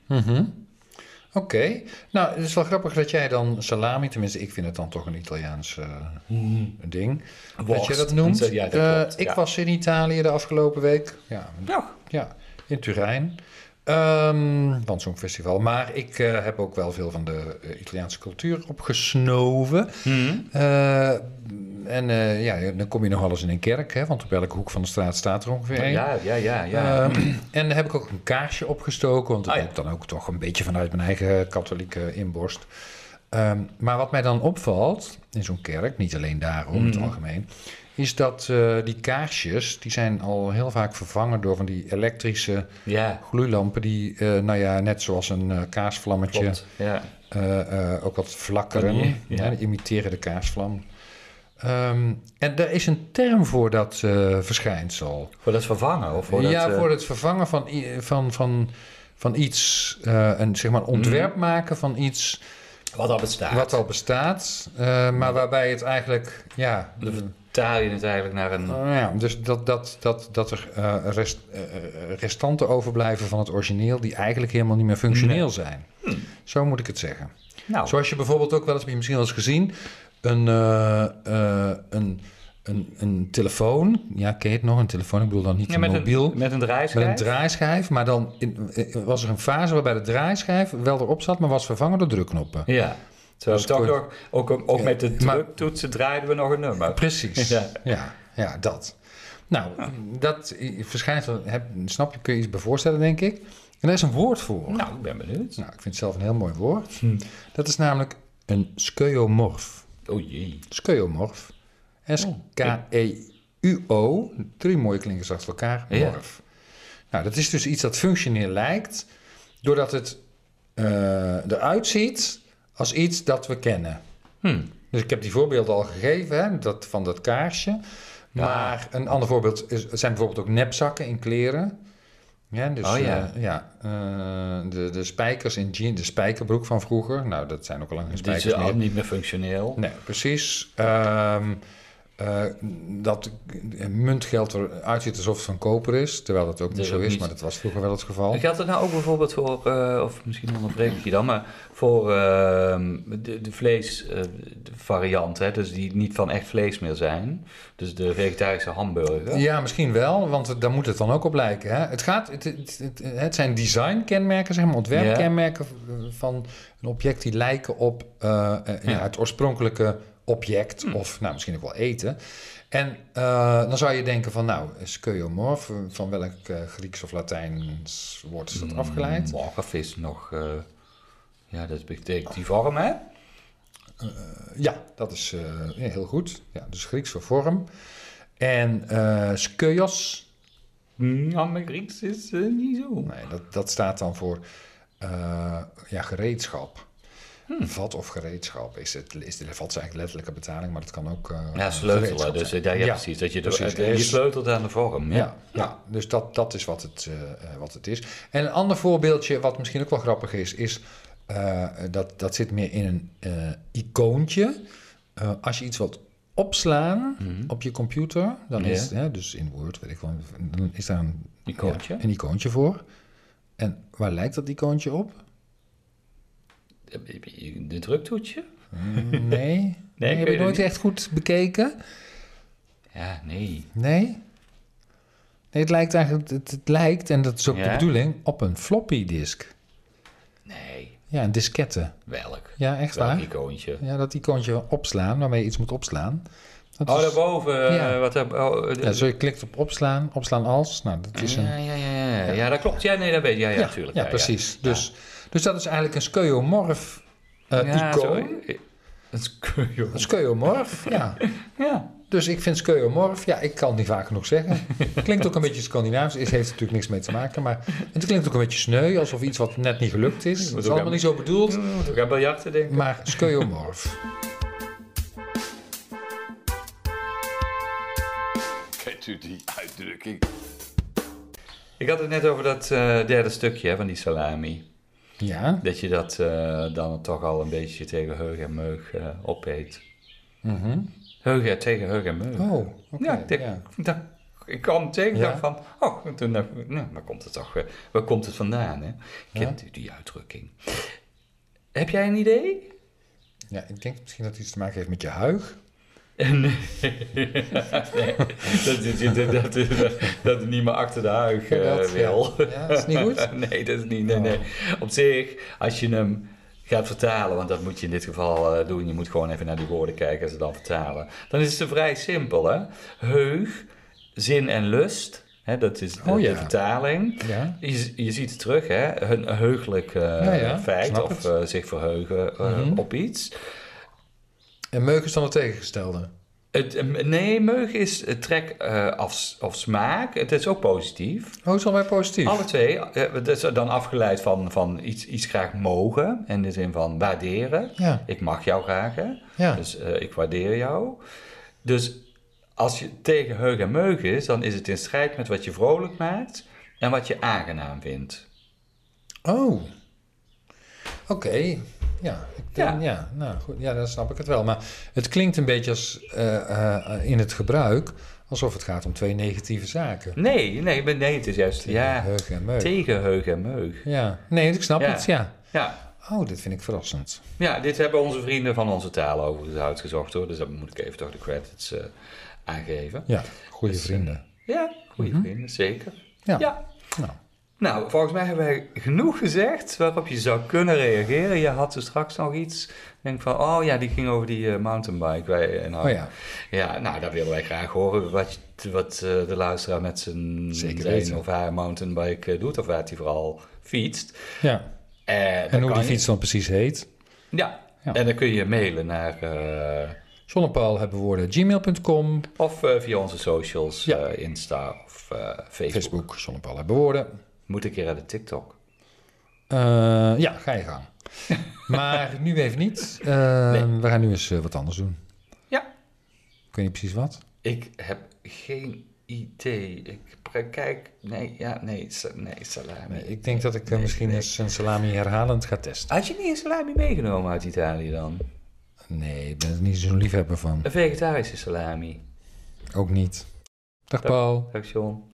S2: Oké. Nou, het is wel grappig dat jij dan salami, tenminste ik vind het dan toch een Italiaans eh, ding, dat
S3: Worst.
S2: je dat noemt.
S3: Ja, dat
S2: Eh,
S3: klopt,
S2: ik
S3: ja.
S2: was in Italië de afgelopen week. Ja,
S3: Nou,
S2: Ja, in Turijn. Ehm want zo'n festival. Maar ik eh, heb ook wel veel van de eh, Italiaanse cultuur opgesnoven. Eh, en eh, ja, dan kom je nog wel eens in een kerk, hè, want op elke hoek van de straat staat er ongeveer één.
S3: ja, ja, ja, ja.
S2: Ehm, en daar heb ik ook een kaarsje opgestoken, want dat
S3: Ah, ja.
S2: heb ik dan ook toch een beetje vanuit mijn eigen katholieke inborst. Ehm, maar wat mij dan opvalt in zo'n kerk, niet alleen daarom, in het
S3: Mm.
S2: algemeen, is dat eh, die kaarsjes, die zijn al heel vaak vervangen door van die elektrische
S3: ja,
S2: gloeilampen die, eh, nou ja, net zoals een eh, kaarsvlammetje,
S3: klopt. Ja.
S2: eh, eh, ook wat vlakkeren,
S3: Ja, ja.
S2: ja. die imiteren de kaarsvlam. Ehm, en daar is een term voor dat eh, verschijnsel
S3: Voor dat vervangen? Of voor
S2: ja,
S3: dat, eh,
S2: voor het vervangen van, i- van, van, van iets, eh, een zeg maar een
S3: Mm.
S2: ontwerp maken van iets
S3: Wat al bestaat.
S2: wat al bestaat, eh,
S3: Mm.
S2: maar waarbij het eigenlijk, ja,
S3: Dan vertaal je het eigenlijk naar een...
S2: nou ja dus dat, dat, dat, dat er eh, rest, eh, eh, restanten overblijven van het origineel die eigenlijk helemaal niet meer functioneel zijn. Zo moet ik het zeggen.
S3: Mm. Nou,
S2: Zoals je bijvoorbeeld ook wel eens, heb je misschien wel eens gezien, een, eh, eh, een, een, een telefoon, ja, ken je het nog, een telefoon, ik bedoel dan niet
S3: ja,
S2: een
S3: met,
S2: mobiel.
S3: een, met een draaischijf.
S2: Met een draaischijf, maar dan in- eh, was er een fase waarbij de draaischijf wel erop zat, maar was vervangen door drukknoppen.
S3: Ja. Terwijl
S2: Dus
S3: we
S2: kon-
S3: toch nog, ook, ook ook
S2: Ja,
S3: met de
S2: maar-
S3: druktoetsen draaiden we nog een nummer.
S2: Precies.
S3: Ja.
S2: Ja. Ja, dat. Nou, dat eh, verschijnsel, heb, snap je, kun je iets bij voorstellen, denk ik. En daar is een woord voor. Nou,
S3: Nou, ik ben benieuwd.
S2: ik vind het zelf een heel mooi woord. Dat is namelijk een skeuomorf.
S3: O jee.
S2: Skeuomorf. S-K-E-U-O. Drie mooie klinkers achter elkaar.
S3: Ja.
S2: Morf. Nou, dat is dus iets dat functioneel lijkt, doordat het eh, eruit ziet als iets dat we kennen.
S3: Hm.
S2: Dus ik heb die voorbeelden al gegeven, hè, dat, van dat kaarsje. Maar een ander voorbeeld is, zijn bijvoorbeeld ook nepzakken in kleren. Ja, dus
S3: Oh, ja.
S2: eh, ja eh, de, de spijkers in jeans, de spijkerbroek van vroeger. Nou, dat zijn ook al lang geen
S3: Dit
S2: spijkers
S3: is
S2: meer.
S3: al niet meer functioneel.
S2: Nee, precies. Ehm, eh, eh, dat muntgeld eruit ziet alsof het van koper is. Terwijl dat ook niet
S3: Dat
S2: zo
S3: ook
S2: is,
S3: niet.
S2: maar dat was vroeger wel het geval.
S3: Geldt dat nou ook bijvoorbeeld voor, eh, of misschien onderbreek ik je dan, maar voor ehm, de, de vleesvariant, hè, dus die niet van echt vlees meer zijn. Dus de vegetarische hamburger.
S2: Ja, misschien wel, want het- daar moet het dan ook op lijken. Hè? Het, gaat, het, het, het, het zijn designkenmerken, zeg maar, ontwerpkenmerken v- van een object die lijken op eh, eh, ja.
S3: Ja. Hm.
S2: het oorspronkelijke object, of nou, misschien ook wel eten. En eh, dan zou je denken van, nou, skeuomorf, eh, van welk eh, Grieks of Latijns woord is
S3: Hmm.
S2: dat afgeleid?
S3: Morf is Mm, nog, eh, ja, dat betekent die vorm, hè?
S2: Ja, dat is eh, ja, heel goed. Ja, dus Grieks voor vorm. En eh skeuos,
S3: Ja, maar Mm, Grieks is eh, niet zo.
S2: Nee, dat, dat staat dan voor eh, ja, gereedschap.
S3: Hmm.
S2: Vat of gereedschap is het, is de, vat is eigenlijk letterlijke betaling, maar dat kan ook. eh,
S3: Ja, sleutelen.
S2: gereedschap
S3: Dus,
S2: zijn.
S3: eh, ja, ja,
S2: Ja,
S3: precies. Dat je, de-
S2: precies.
S3: eh, je sleutelt aan de vorm.
S2: Ja,
S3: Ja.
S2: ja, dus dat, dat is wat het, eh, eh, wat het is. En een ander voorbeeldje, wat misschien ook wel grappig is, is eh, dat, dat zit meer in een eh, icoontje. Eh, als je iets wilt opslaan op je computer, dan
S3: Mhm. Ja.
S2: is het, hè, dus in Word, weet ik wel, dan is daar een
S3: Icoontje?
S2: ja, een icoontje voor. En waar lijkt dat icoontje op?
S3: De druktoetje?
S2: Nee. nee, heb
S3: weet het
S2: ik nooit
S3: niet.
S2: echt goed bekeken.
S3: Ja, nee.
S2: Nee. Nee, het lijkt eigenlijk, het, het lijkt, en dat is ook de
S3: Ja?
S2: bedoeling, op een floppy disk.
S3: Nee,
S2: Ja, een diskette.
S3: welk?
S2: Ja, echt
S3: Welk
S2: waar.
S3: icoontje?
S2: Ja, dat icoontje opslaan, waarmee je iets moet opslaan. Dat
S3: Oh,
S2: is-
S3: daarboven.
S2: Ja.
S3: eh, wat, heb- oh, eh, de-
S2: ja, zo je klikt op opslaan, opslaan als. Nou, dat is een...
S3: ja, ja, ja, ja, ja. Ja, dat klopt. Ja, nee, dat weet je. Ja, ja, natuurlijk.
S2: Ja, precies. Dus, dus dat is eigenlijk een skeuomorf eh,
S3: Ja, zo-
S2: icoon.
S3: eh, Een skeuo.
S2: Een skeuomorf, ja.
S3: Ja.
S2: Dus ik vind skeuomorf, ja, ik kan het niet vaak genoeg zeggen. Klinkt ook een beetje Scandinavisch, is, heeft er natuurlijk niks mee te maken. Maar het klinkt ook een beetje sneu, alsof iets wat net niet gelukt is. Dat is allemaal niet zo bedoeld,
S3: Moet ook aan biljarten denken.
S2: maar skeuomorf.
S4: Kent u die uitdrukking?
S3: Ik had het net over dat eh, derde stukje hè, van die salami.
S2: Ja,
S3: Dat je dat eh, dan toch al een beetje tegen heug en meug eh, opeet.
S2: mhm.
S3: Heug tegen heug en meug.
S2: oh, oké.
S3: ja, ik, denk,
S2: ja.
S3: dat- ik kwam tegen
S2: Ja.
S3: dacht van, oh, en toen dacht ik, nou, waar komt het toch, eh, waar komt het vandaan, hè? Kent u die uitdrukking? Heb jij een idee?
S2: Ja, ik denk misschien dat het iets te maken heeft met je huig.
S3: Eh, Nee, dat, dat, dat, dat, dat, dat is niet meer achter de huig eh,
S2: Dat, ja.
S3: wil.
S2: Ja, dat is niet goed.
S3: nee, dat is niet. Nee,
S2: Oh.
S3: nee. Op zich, als je hem gaat vertalen, want dat moet je in dit geval eh, doen. Je moet gewoon even naar die woorden kijken en ze dan vertalen. Dan is het vrij simpel, hè? Heug, zin en lust. Hè, dat is de,
S2: Oh, ja.
S3: de vertaling.
S2: Ja.
S3: Je, z- je ziet het terug, hè? Een heugelijk eh,
S2: ja,
S3: feit
S2: snap
S3: of
S2: het. Mhm.
S3: eh, zich verheugen eh, op iets.
S2: En meug is dan het tegengestelde.
S3: Het, eh, nee, meug is eh, trek eh, of, of smaak. Het is ook positief.
S2: Oh, is alweer positief.
S3: Alle twee, eh, dat is dan afgeleid van, van iets, iets graag mogen. In de zin van waarderen.
S2: Ja.
S3: Ik mag jou graag, hè?
S2: Ja.
S3: Dus eh, ik waardeer jou. Dus als je tegen heug en meug is, dan is het in strijd met wat je vrolijk maakt en wat je aangenaam vindt.
S2: Oh. Oké. Ja, ik denk, ja.
S3: Ja.
S2: nou goed. Ja, dan snap ik het wel. Maar het klinkt een beetje als, eh, eh, in het gebruik alsof het gaat om twee negatieve zaken.
S3: Nee, nee, maar nee het is juist ja,
S2: Heug en meug.
S3: tegen heug en meug.
S2: Ja, nee, ik snap
S3: Ja.
S2: het, ja.
S3: Ja.
S2: Oh, dit vind ik verrassend.
S3: ja, dit hebben onze vrienden van onze taal overigens uitgezocht hoor. Dus dat moet ik even toch de credits eh, aangeven.
S2: Ja, Mhm. goede vrienden.
S3: Ja, goede vrienden, zeker.
S2: Ja.
S3: Dus, eh, ja.
S2: Nou,
S3: Nou, volgens mij hebben wij genoeg gezegd waarop je zou kunnen reageren. Je had dus straks nog iets. Ik Denk van, oh ja, die ging over die eh, mountainbike. Wij, en
S2: oh ja,
S3: Ja, nou, dat willen wij graag horen. Wat, je- wat eh, de luisteraar met zijn
S2: Zeker
S3: zijn
S2: weten.
S3: of haar mountainbike eh, doet. Of waar hij vooral fietst.
S2: ja.
S3: Eh, dat
S2: En hoe
S3: kan
S2: die
S3: je.
S2: fiets dan precies heet.
S3: Ja.
S2: Ja.
S3: en dan kun je mailen naar... eh,
S2: Zonnepaal hebben woorden. Gmail.com,
S3: of eh, via onze socials,
S2: Ja.
S3: eh, Insta of eh, Facebook.
S2: Facebook, Zonnepaal hebben woorden.
S3: Moet ik keer naar de TikTok.
S2: Eh, ja, ga je gang. maar nu even niet. Eh, We gaan nu eens eh, wat anders doen.
S3: Ja.
S2: Ik weet niet precies wat.
S3: Ik heb geen idee. Ik pre- kijk. Nee, ja, nee, sa- nee salami.
S2: Nee, ik denk dat ik eh, misschien eens een salami herhalend ga testen.
S3: Had je niet een salami meegenomen uit Italië dan?
S2: Nee, ik ben er niet zo'n liefhebber van.
S3: Een vegetarische salami.
S5: Ook niet. Dag Paul.
S2: Dag John.